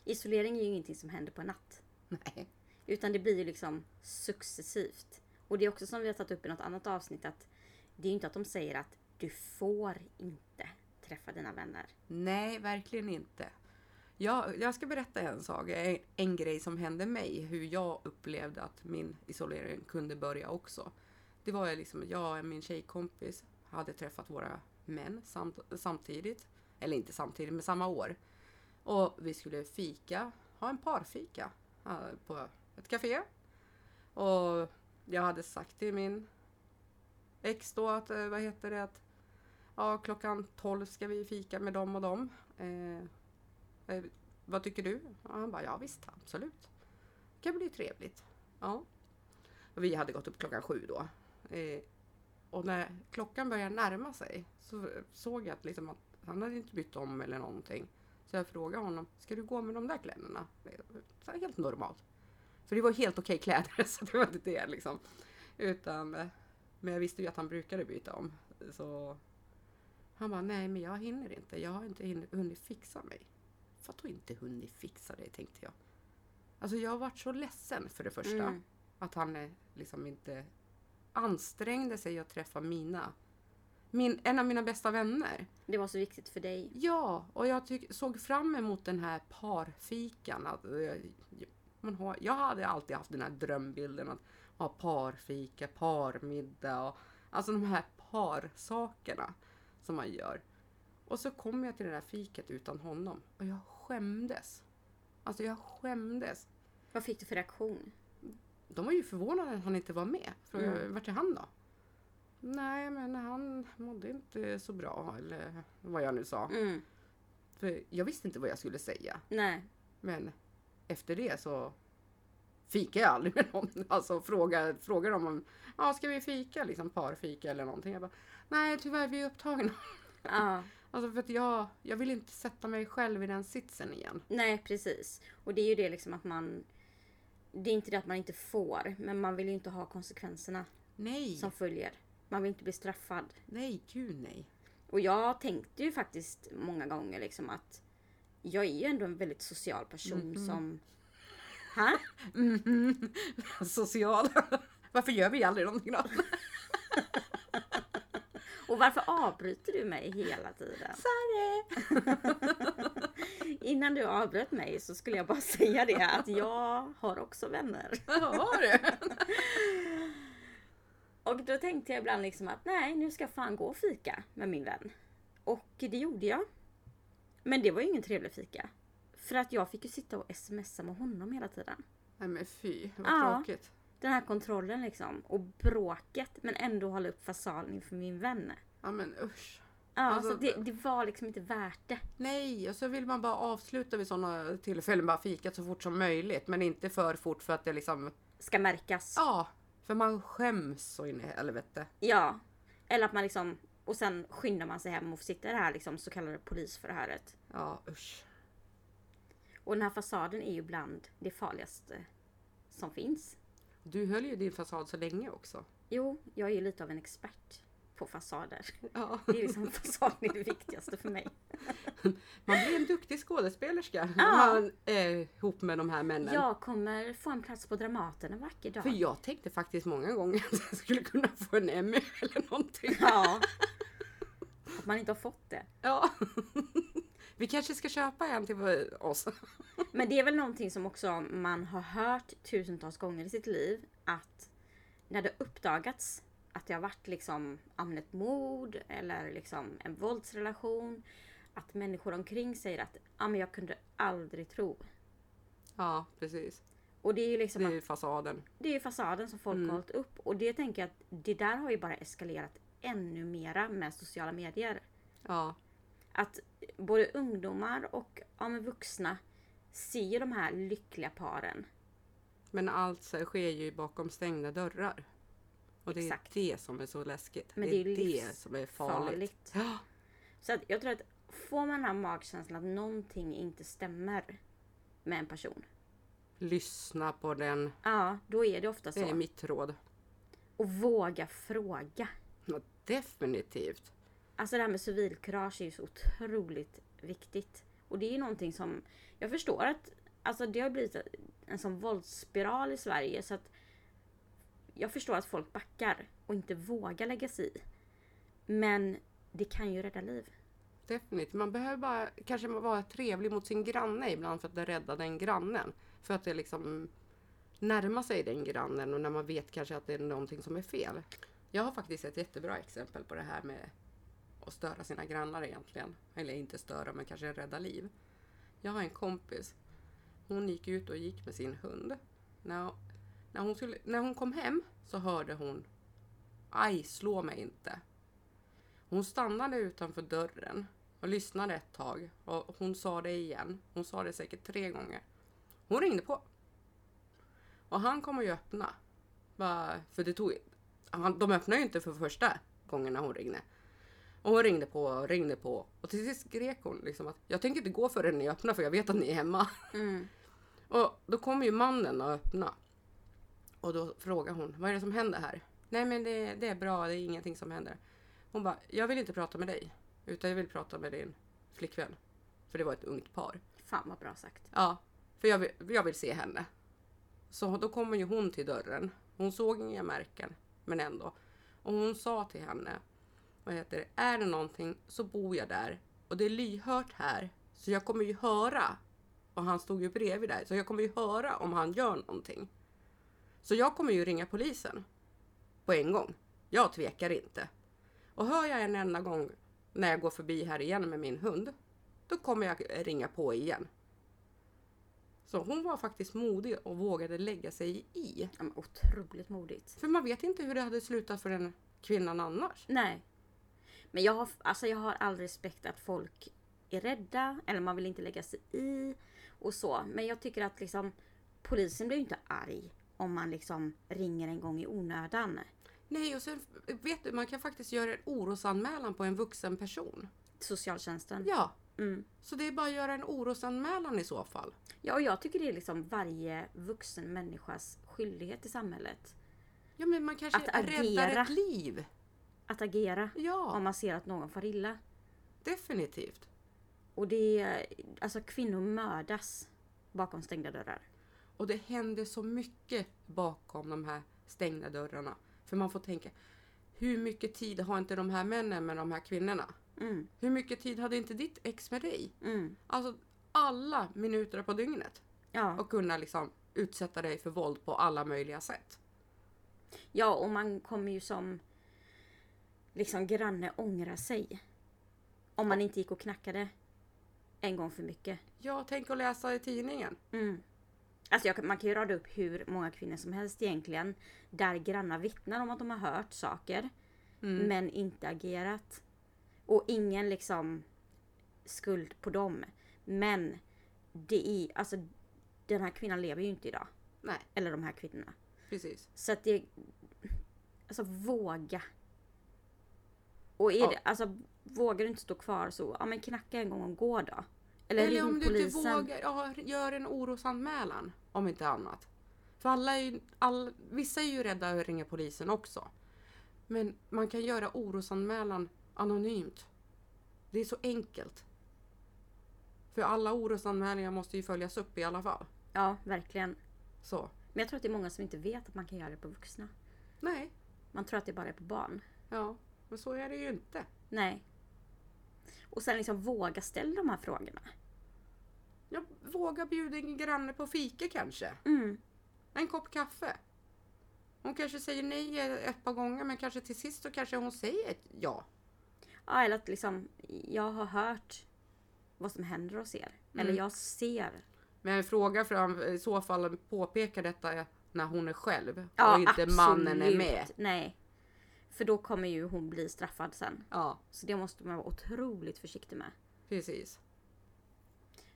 Speaker 2: Isolering är ju ingenting som händer på en natt.
Speaker 1: nej.
Speaker 2: Utan det blir ju liksom successivt. Och det är också som vi har tagit upp i något annat avsnitt att det är ju inte att de säger att du får inte träffa dina vänner.
Speaker 1: Nej, verkligen inte. Jag, jag ska berätta en sak, en, en grej som hände mig, hur jag upplevde att min isolering kunde börja också. Det var ju liksom, jag och min tjejkompis hade träffat våra män samt, samtidigt, eller inte samtidigt, men samma år. Och vi skulle fika, ha en parfika eh, på ett café. Och jag hade sagt till min ex då att, eh, vad heter det, att ja, klockan 12 ska vi fika med dem och dem. Eh, eh, vad tycker du? Och han bara, ja visst, absolut. Det kan bli trevligt. Ja. Och vi hade gått upp klockan sju då. Eh, och när klockan började närma sig så såg jag att, liksom att han hade inte bytt om eller någonting. Så jag frågade honom, ska du gå med de där kläderna? Eh, Så här, helt normalt. För det var helt okej kläder, [LAUGHS] så det var inte det liksom. Utan, eh, men jag visste ju att han brukade byta om. Så han bara, nej men jag hinner inte. Jag har inte hin- hunnit fixa mig. Vadå inte hunnit fixa dig, tänkte jag. Alltså jag har varit så ledsen för det första.
Speaker 2: Mm.
Speaker 1: Att han eh, liksom inte ansträngde sig att träffa mina, min, en av mina bästa vänner.
Speaker 2: Det var så viktigt för dig.
Speaker 1: Ja, och jag tyck, såg fram emot den här parfikan. Att, eh, jag- man har, jag hade alltid haft den här drömbilden att ha parfika, parmiddag och alltså de här parsakerna som man gör. Och så kom jag till det där fiket utan honom och jag skämdes. Alltså jag skämdes.
Speaker 2: Vad fick du för reaktion?
Speaker 1: De var ju förvånade att han inte var med. Frågade, Vart är han då? Mm. Nej, men han mådde inte så bra eller vad jag nu sa.
Speaker 2: Mm.
Speaker 1: För jag visste inte vad jag skulle säga.
Speaker 2: Nej.
Speaker 1: Men efter det så fikar jag aldrig [LAUGHS] med någon. Alltså frågar, frågar de om, ja ska vi fika liksom parfika eller någonting. Jag bara, nej tyvärr vi är upptagna. [LAUGHS]
Speaker 2: Ja.
Speaker 1: Alltså för att jag, jag vill inte sätta mig själv i den sitsen igen.
Speaker 2: Nej, precis. Och det är ju det liksom att man... Det är inte det att man inte får, men man vill ju inte ha konsekvenserna
Speaker 1: Nej,
Speaker 2: som följer. Man vill inte bli straffad.
Speaker 1: nej, gud nej. [LAUGHS]
Speaker 2: Och jag tänkte ju faktiskt många gånger liksom att jag är ju ändå en väldigt social person som... Ha?
Speaker 1: Social. [LAUGHS] Varför gör vi aldrig någonting då?
Speaker 2: Och varför avbryter du mig hela tiden?
Speaker 1: Sorry!
Speaker 2: Innan du avbröt mig så skulle jag bara [LAUGHS] säga det att jag har också vänner.
Speaker 1: Har du?
Speaker 2: Och då tänkte jag ibland liksom att nej, nu ska jag fan gå och fika med min vän. Och det gjorde jag. Men det var ju ingen trevlig fika. För att jag fick ju sitta och smsa med honom hela tiden.
Speaker 1: Nej men fy, vad
Speaker 2: Ja.
Speaker 1: tråkigt.
Speaker 2: Den här kontrollen liksom. Och bråket. Men ändå hålla upp fasaden inför min vän.
Speaker 1: Ja men usch.
Speaker 2: Ja,
Speaker 1: Alltså-
Speaker 2: så det, det var liksom inte värt det.
Speaker 1: Nej, och så vill man bara avsluta vid sådana tillfällen, bara fikat så fort som möjligt. Men inte för fort för att det liksom,
Speaker 2: Ska märkas.
Speaker 1: ja, för man skäms så in i helvete.
Speaker 2: Ja. Eller att man liksom... Och sen skyndar man sig hem och sitter här liksom så kallade polisförhöret.
Speaker 1: Ja, usch.
Speaker 2: Och den här fasaden är ju bland det farligaste som finns.
Speaker 1: Du höll ju din fasad så länge också.
Speaker 2: Jo, jag är ju lite av en expert på fasader.
Speaker 1: Ja.
Speaker 2: Det
Speaker 1: [LAUGHS]
Speaker 2: är liksom fasaden är det viktigaste för mig.
Speaker 1: Man blir en duktig skådespelerska när
Speaker 2: Ja.
Speaker 1: man är ihop med de här männen.
Speaker 2: Jag kommer få en plats på Dramaten en vacker dag.
Speaker 1: För jag tänkte faktiskt många gånger att jag skulle kunna få en Emmy eller någonting. [LAUGHS]
Speaker 2: Ja. Att man inte har fått det.
Speaker 1: Ja. [LAUGHS] Vi kanske ska köpa en till oss.
Speaker 2: Men det är väl någonting som också man har hört tusentals gånger i sitt liv att när det uppdagats att det har varit liksom ja, men ett mord eller liksom en våldsrelation att människor omkring säger att ja, men jag kunde aldrig tro.
Speaker 1: Ja, precis.
Speaker 2: Och det är ju
Speaker 1: Det
Speaker 2: liksom
Speaker 1: är
Speaker 2: att
Speaker 1: ju fasaden.
Speaker 2: Det är ju fasaden som folk har hållit upp och det tänker jag att det där har ju bara eskalerat ännu mera med sociala medier.
Speaker 1: Ja.
Speaker 2: att både ungdomar och ja, men vuxna ser ju de här lyckliga paren.
Speaker 1: Men allt så här sker ju bakom stängda dörrar. Och det
Speaker 2: Exakt.
Speaker 1: är det som är så läskigt.
Speaker 2: Men
Speaker 1: det
Speaker 2: det
Speaker 1: är
Speaker 2: är ju
Speaker 1: det som är farligt.
Speaker 2: livsfarligt.
Speaker 1: Ja,
Speaker 2: Så att jag tror att får man den här magkänslan att någonting inte stämmer med en person.
Speaker 1: lyssna på den.
Speaker 2: Ja, då är det ofta
Speaker 1: Det är
Speaker 2: så.
Speaker 1: mitt råd.
Speaker 2: Och våga fråga.
Speaker 1: Ja, definitivt.
Speaker 2: Alltså det här med civilkurage är ju så otroligt viktigt. Och det är ju någonting som, jag förstår att alltså det har blivit en sån våldsspiral i Sverige så att jag förstår att folk backar och inte vågar lägga sig i. Men det kan ju rädda liv.
Speaker 1: Definitivt. Man behöver bara kanske vara trevlig mot sin granne ibland för att rädda den grannen. För att det liksom närma sig den grannen och när man vet kanske att det är någonting som är fel. Jag har faktiskt ett jättebra exempel på det här med att störa sina grannar egentligen. Eller inte störa men kanske rädda liv. Jag har en kompis. Hon gick ut och gick med sin hund. När, när, hon, skulle, när hon kom hem så hörde hon Aj, slå mig inte. Hon stannade utanför dörren och lyssnade ett tag. Och hon sa det igen. Hon sa det säkert tre gånger. Hon ringde på. Och han kom och öppna. Bara, för det tog... Han, de öppnade ju inte för första gången när hon ringde. Och hon ringde på och ringde på. Och till sist skrek hon liksom att jag tänker inte gå förrän ni öppnar för jag vet att ni är hemma. Mm. Och då kommer ju mannen att öppna. Och då frågar hon, vad är det som händer här? Nej men det, det är bra, det är ingenting som händer. Hon bara, jag vill inte prata med dig. Utan jag vill prata med din flickvän. För det var ett ungt par.
Speaker 2: Fan vad bra sagt.
Speaker 1: Ja, för jag vill, jag vill se henne. Så då kommer ju hon till dörren. Hon såg inga märken, men ändå. Och hon sa till henne, vad heter det, är det någonting så bor jag där. Och det är lyhört här, så jag kommer ju höra. Och han stod ju bredvid där, så jag kommer ju höra om han gör någonting. Så jag kommer ju ringa polisen. På en gång. Jag tvekar inte. Och hör jag en enda gång när jag går förbi här igen med min hund, då kommer jag ringa på igen. Så hon var faktiskt modig och vågade lägga sig i.
Speaker 2: Ja, men otroligt modigt.
Speaker 1: För man vet inte hur det hade slutat för den kvinnan annars.
Speaker 2: Nej. Men jag har, alltså jag har all respekt att folk är rädda eller man vill inte lägga sig i och så. Men jag tycker att liksom polisen blir ju inte arg om man liksom ringer en gång i onödan.
Speaker 1: Nej, och sen vet du, man kan faktiskt göra en orosanmälan på en vuxen person.
Speaker 2: Socialtjänsten. Ja.
Speaker 1: Ja,
Speaker 2: Mm.
Speaker 1: så det är bara att göra en orosanmälan i så fall.
Speaker 2: ja, och jag tycker det är liksom varje vuxen människas skyldighet i samhället
Speaker 1: Ja, men man kanske
Speaker 2: Att
Speaker 1: räddar
Speaker 2: agera.
Speaker 1: ett liv.
Speaker 2: att agera
Speaker 1: Ja,
Speaker 2: om man ser att någon far illa.
Speaker 1: definitivt.
Speaker 2: Och det är, alltså kvinnor mördas bakom stängda dörrar.
Speaker 1: Och det händer så mycket bakom de här stängda dörrarna. För man får tänka, hur mycket tid har inte de här männen med de här kvinnorna?
Speaker 2: Mm,
Speaker 1: Hur mycket tid hade inte ditt ex med dig?
Speaker 2: mm,
Speaker 1: Alltså alla minuter på dygnet.
Speaker 2: ja.
Speaker 1: Och kunna liksom utsätta dig för våld på alla möjliga sätt.
Speaker 2: Ja, och man kommer ju som liksom granne ångra sig. Om man inte gick och knackade en gång för mycket.
Speaker 1: Ja, tänk att läsa i tidningen.
Speaker 2: Mm. Alltså jag, kan- man kan ju rada upp hur många kvinnor som helst egentligen. Där grannar vittnar om att de har hört saker. Men inte agerat. Och ingen liksom skuld på dem. Men det är, alltså den här kvinnan lever ju inte idag.
Speaker 1: Nej,
Speaker 2: Eller de här kvinnorna.
Speaker 1: precis.
Speaker 2: Så att det... Alltså våga. Och är
Speaker 1: Ja.
Speaker 2: det, alltså, vågar du inte stå kvar så ja, men knacka en gång och gå då. Eller,
Speaker 1: Eller,
Speaker 2: ring
Speaker 1: om du
Speaker 2: polisen.
Speaker 1: inte vågar, ja, gör en orosanmälan. Om inte annat. För alla är ju, all, vissa är ju rädda att ringa polisen också. Men man kan göra orosanmälan anonymt. Det är så enkelt. För alla orosanmälningar måste ju följas upp i alla fall.
Speaker 2: Ja, verkligen.
Speaker 1: Så.
Speaker 2: Men jag tror att det är många som inte vet att man kan göra det på vuxna.
Speaker 1: Nej,
Speaker 2: Man tror att det bara är på barn.
Speaker 1: ja. Men så är det ju inte.
Speaker 2: Nej. Och sen liksom våga ställa de här frågorna.
Speaker 1: Jag vågar bjuda en granne på fika kanske.
Speaker 2: Mm.
Speaker 1: En kopp kaffe. Hon kanske säger nej ett par gånger men kanske till sist så kanske hon säger ett ja.
Speaker 2: Ja, eller att liksom, jag har hört vad som händer hos er.
Speaker 1: Mm.
Speaker 2: Eller jag ser.
Speaker 1: Men fråga fram, i så fall påpeka detta när hon är själv
Speaker 2: Ja,
Speaker 1: och inte
Speaker 2: absolut.
Speaker 1: mannen är med.
Speaker 2: Nej. För då kommer ju hon bli straffad sen.
Speaker 1: Ja,
Speaker 2: Så det måste man vara otroligt försiktig med.
Speaker 1: Precis.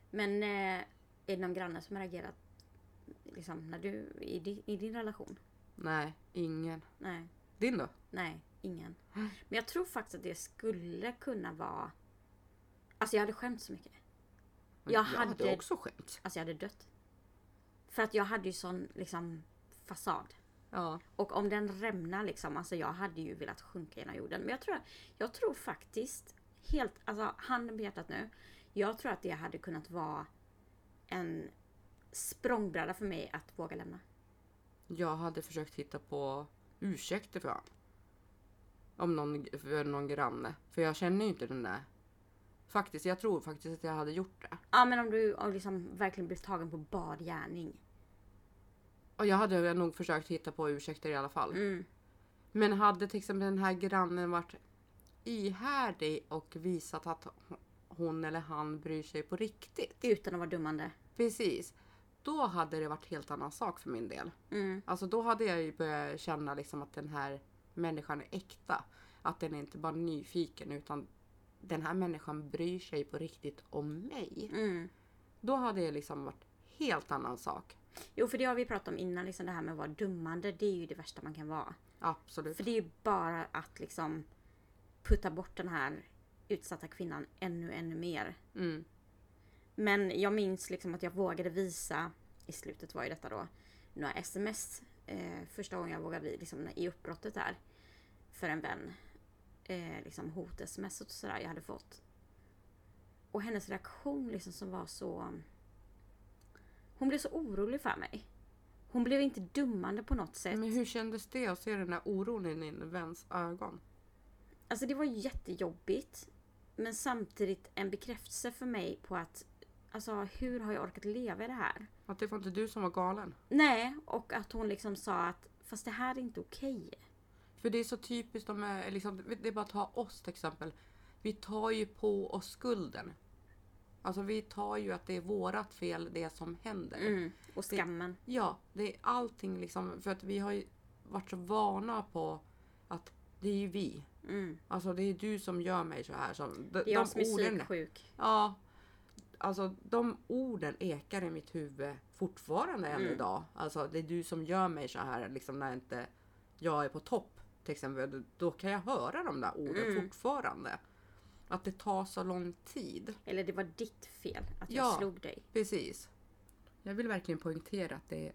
Speaker 4: Men eh, är det någon granne som har reagerat liksom, när du, i, di, i din relation?
Speaker 1: Nej, ingen.
Speaker 4: Nej,
Speaker 1: Din då?
Speaker 4: nej, ingen. Men jag tror faktiskt att det skulle kunna vara... Alltså jag hade skämt så mycket. Jag hade-
Speaker 1: också skämt.
Speaker 4: Alltså jag hade dött. För att jag hade ju sån liksom fasad.
Speaker 1: Ja.
Speaker 4: Och om den rämnar liksom, alltså jag hade ju velat sjunka genom jorden. Men jag tror, jag tror faktiskt, helt, alltså handen på hjärtat nu. Jag tror att det hade kunnat vara en språngbräda för mig att våga lämna.
Speaker 1: Jag hade försökt hitta på ursäkter för honom. Om någon, för någon granne. För jag känner ju inte den där. Faktiskt, jag tror faktiskt att jag hade gjort det.
Speaker 4: Ja men om du om liksom verkligen blir tagen på bar gärning.
Speaker 1: Och jag hade nog försökt hitta på ursäkter i alla fall.
Speaker 4: Mm.
Speaker 1: Men hade till exempel den här grannen varit ihärdig och visat att hon eller han bryr sig på riktigt.
Speaker 4: Utan att vara dummande.
Speaker 1: Precis. Då hade det varit helt annan sak för min del.
Speaker 4: Mm.
Speaker 1: Alltså då hade jag ju börjat känna liksom att den här människan är äkta. Att den är inte bara nyfiken utan den här människan bryr sig på riktigt om mig.
Speaker 4: Mm.
Speaker 1: Då hade det liksom varit helt annan sak.
Speaker 4: Jo för det har vi pratat om innan, liksom det här med att vara dummande. Det är ju det värsta man kan vara.
Speaker 1: Absolut.
Speaker 4: För det är ju bara att liksom putta bort den här utsatta kvinnan ännu, ännu mer.
Speaker 1: Mm.
Speaker 4: Men jag minns liksom att jag vågade visa, i slutet var ju detta då, några sms. Eh, första gången jag vågade visa liksom, i uppbrottet där. För en vän. Eh, liksom hot-sms och sådär jag hade fått. Och hennes reaktion liksom som var så... Hon blev så orolig för mig. Hon blev inte dummande på något sätt.
Speaker 1: Men hur kändes det att se den där oron i din väns ögon?
Speaker 4: Alltså det var jättejobbigt. Men samtidigt en bekräftelse för mig på att alltså hur har jag orkat leva i det här?
Speaker 1: Att det var inte du som var galen.
Speaker 4: Nej, och att hon liksom sa att fast det här är inte okej.
Speaker 1: För det är så typiskt, de är liksom, det är bara att ta oss till exempel. Vi tar ju på oss skulden. Alltså vi tar ju att det är vårat fel det som händer.
Speaker 2: Mm.
Speaker 4: Och skammen.
Speaker 1: Ja, det är allting liksom. För att vi har ju varit så vana på att det är ju vi.
Speaker 4: Mm.
Speaker 1: Alltså det är du som gör mig så här. Som, de,
Speaker 4: Det är jag
Speaker 1: de
Speaker 4: som är
Speaker 1: orden,
Speaker 4: psyksjuk.
Speaker 1: Ja. Alltså de orden ekar i mitt huvud fortfarande än
Speaker 4: Mm.
Speaker 1: idag. Alltså det är du som gör mig så här liksom när inte jag är på topp. Till exempel, då kan jag höra de där orden
Speaker 4: Mm.
Speaker 1: fortfarande. Att det tar så lång tid.
Speaker 4: Eller det var ditt fel att
Speaker 1: Ja.
Speaker 4: jag slog dig.
Speaker 1: Precis. Jag vill verkligen poängtera att det är,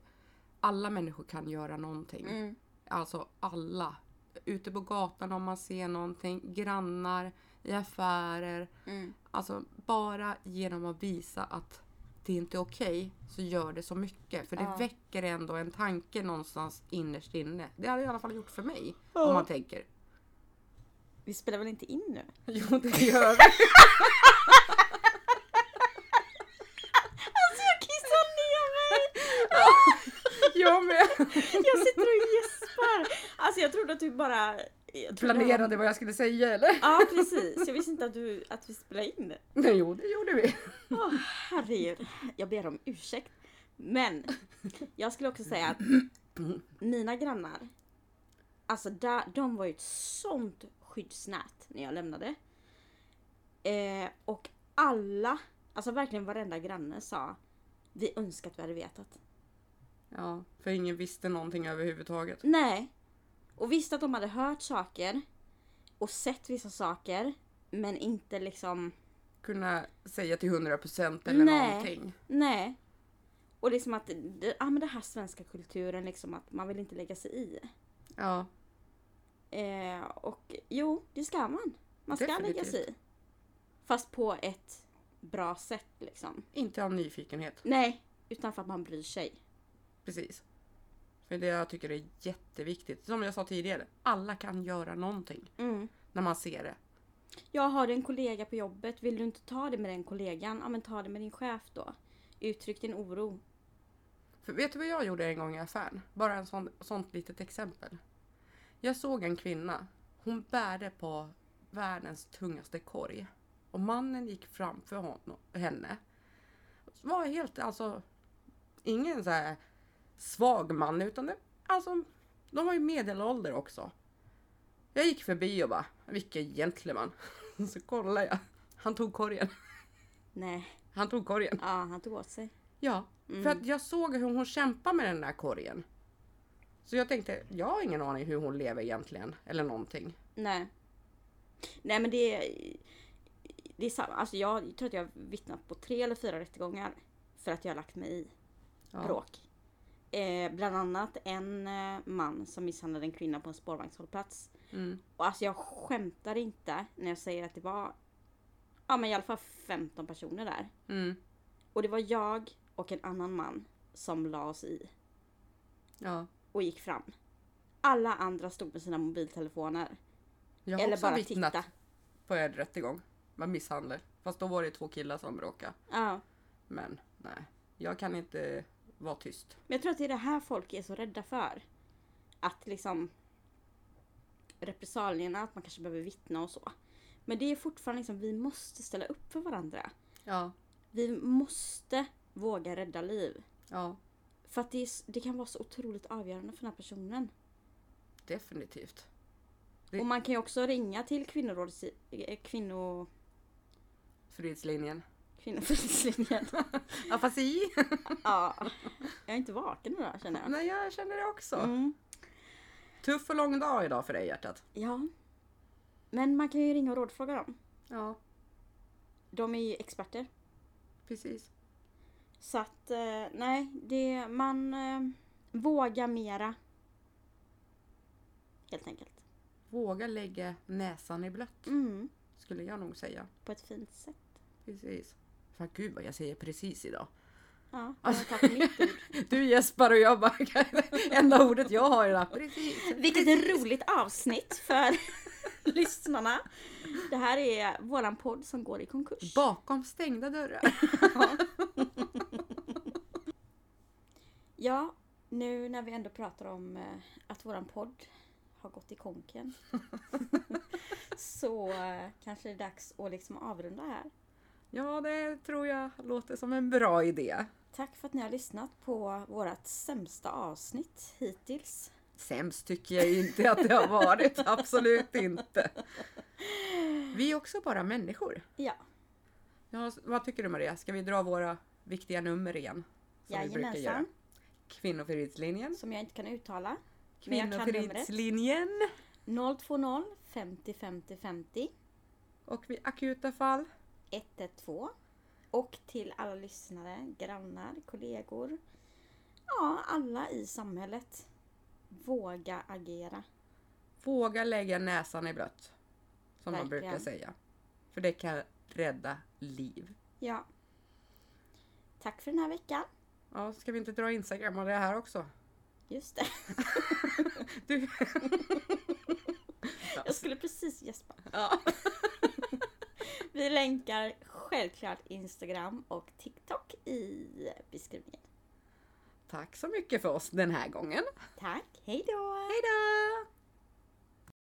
Speaker 1: alla människor kan göra någonting.
Speaker 2: Mm.
Speaker 1: Alltså alla. Ute på gatan om man ser någonting, grannar, i affärer.
Speaker 2: Mm.
Speaker 1: Alltså bara genom att visa att det inte är okej så gör det så mycket. För det väcker ändå en tanke någonstans innerst inne. Det hade det i alla fall gjort för mig. Om man tänker.
Speaker 2: Vi spelar väl inte in nu?
Speaker 1: [LAUGHS] Jo det gör vi.
Speaker 2: Alltså jag kissar ner mig!
Speaker 1: Jag med.
Speaker 2: Jag sitter och gäspar! Alltså jag trodde att du bara... Jag trodde-
Speaker 1: Planerade vad jag skulle säga eller? [LAUGHS]
Speaker 2: Ja precis, jag visste inte att, du, att vi spelade in.
Speaker 1: Nej, jo det gjorde vi.
Speaker 2: Åh herregud, jag ber om ursäkt. Men jag skulle också säga att mina grannar, alltså där, de var ju ett sånt skyddsnät när jag lämnade. Eh, och alla, alltså verkligen varenda granne sa vi önskar att vi hade vetat.
Speaker 1: Ja, för ingen visste någonting överhuvudtaget.
Speaker 2: Nej. Och visst att de hade hört saker och sett vissa saker men inte liksom
Speaker 1: Kunna säga till 100% eller
Speaker 2: Nej.
Speaker 1: någonting.
Speaker 2: Nej. Och liksom att, det- ja men den här svenska kulturen liksom att man vill inte lägga sig i.
Speaker 1: Ja,
Speaker 2: Eh, och jo, det ska man. Man ska lägga
Speaker 1: Definitivt.
Speaker 2: sig i. Fast på ett bra sätt liksom.
Speaker 1: inte av nyfikenhet.
Speaker 2: Nej, utan för att man bryr sig.
Speaker 1: Precis. För det jag tycker är jätteviktigt. Som jag sa tidigare, alla kan göra någonting
Speaker 2: Mm.
Speaker 1: när man ser det.
Speaker 2: Jag har en kollega på jobbet, vill du inte ta det med den kollegan? Ja men ta det med din chef då. Uttryck din oro.
Speaker 1: För vet du vad jag gjorde en gång i affären? Bara en sån, sånt litet exempel. Jag såg en kvinna. Hon bärde på världens tungaste korg. Och mannen gick framför hon, henne. Var helt, alltså, ingen så här svag man utan det, alltså, de var ju medelålder också. [LAUGHS] Jag gick förbi och bara, vilken gentleman. Så kollade jag. Han tog korgen.
Speaker 2: Nej.
Speaker 1: Han tog korgen.
Speaker 2: Ja, han tog åt sig.
Speaker 1: Ja, för att jag såg hur hon kämpade med den där korgen. Så jag tänkte, jag har ingen aning hur hon lever egentligen. Eller någonting.
Speaker 2: Nej. Nej men det är... Det är samma. Alltså jag tror att jag har vittnat på tre eller fyra rättegångar. För att jag har lagt mig i
Speaker 1: Ja.
Speaker 2: bråk. Eh, bland annat en eh, man som misshandlade en kvinna på en spårvagnshållplats.
Speaker 1: Mm.
Speaker 2: Och alltså jag skämtar inte när jag säger att det var ja, men i alla fall 15 personer där.
Speaker 1: Mm.
Speaker 2: Och det var jag och en annan man som la oss i
Speaker 1: Ja.
Speaker 2: och gick fram. Alla andra stod med sina mobiltelefoner.
Speaker 1: Jag har
Speaker 2: eller
Speaker 1: också
Speaker 2: bara
Speaker 1: vittnat
Speaker 2: titta.
Speaker 1: på er rättegång. Med misshandel. Fast då var det två killar som bråkade.
Speaker 2: Ja.
Speaker 1: Men nej, jag kan inte vara tyst.
Speaker 2: Men jag tror att det är det här folk är så rädda för. Att liksom repressalierna, att man kanske behöver vittna och så. Men det är fortfarande liksom, vi måste ställa upp för varandra.
Speaker 1: Ja,
Speaker 2: Vi måste våga rädda liv.
Speaker 1: ja,
Speaker 2: För att det, är, s- det kan vara så otroligt avgörande för den här personen.
Speaker 1: definitivt. Det-
Speaker 2: Och man kan ju också ringa till kvinnorådets... eh, Kvinno...
Speaker 1: Fridslinjen.
Speaker 2: Kvinnofridslinjen.
Speaker 1: Afasi!
Speaker 2: [LAUGHS] ja. Jag är inte vaken idag känner
Speaker 1: [LAUGHS]
Speaker 2: jag.
Speaker 1: Nej, jag känner det också.
Speaker 2: Mm.
Speaker 1: Tuff och lång dag idag för dig hjärtat.
Speaker 2: Ja. Men man kan ju ringa och rådfråga dem.
Speaker 1: Ja,
Speaker 2: De är ju experter.
Speaker 1: precis.
Speaker 2: Så att eh, nej, det, man eh, vågar mera. Helt enkelt.
Speaker 1: Våga lägga näsan i blött,
Speaker 2: Mm,
Speaker 1: skulle jag nog säga.
Speaker 2: på ett fint sätt.
Speaker 1: Precis. Fan gud vad jag säger precis idag. [LAUGHS]
Speaker 2: Ja, jag har
Speaker 1: Alltså-
Speaker 2: tagit mitt ord.
Speaker 1: Du Jesper och jag bara, [LAUGHS] enda ordet jag har är det här. Precis.
Speaker 2: Vilket roligt avsnitt för [LAUGHS] lyssnarna. Det här är våran podd som går i konkurs.
Speaker 1: Bakom stängda dörrar. [LAUGHS]
Speaker 2: Ja, nu när vi ändå pratar om eh, att våran podd har gått i konken. [LAUGHS] så eh, kanske det är dags att liksom avrunda här.
Speaker 1: Ja, det tror jag låter som en bra idé.
Speaker 2: Tack för att ni har lyssnat på vårt sämsta avsnitt hittills.
Speaker 1: Sämst tycker jag inte att det har varit, [LAUGHS] absolut inte. Vi är också bara människor.
Speaker 2: Ja,
Speaker 1: Ja, vad tycker du Maria? Ska vi dra våra viktiga nummer igen? Som vi brukar göra.
Speaker 2: jajamensan.
Speaker 1: Kvinnofridslinjen.
Speaker 2: Som jag inte kan uttala. Men jag kan numret.
Speaker 1: Kvinnofridslinjen.
Speaker 2: 020 50 50 50
Speaker 1: Och vid akuta fall.
Speaker 2: 112. Och till alla lyssnare, grannar, kollegor. Ja, alla i samhället. Våga agera.
Speaker 1: Våga lägga näsan i blött. Som man
Speaker 2: Verkligen.
Speaker 1: brukar säga. För det kan rädda liv.
Speaker 2: Ja. Tack för den här veckan.
Speaker 1: Ja, ska vi inte dra Instagram och det här också?
Speaker 2: Just det.
Speaker 1: Du.
Speaker 2: Jag skulle precis gäspa.
Speaker 1: Ja.
Speaker 2: Vi länkar självklart Instagram och TikTok i beskrivningen.
Speaker 1: Tack så mycket för oss den här gången.
Speaker 2: Tack, hej då!
Speaker 1: Hejdå!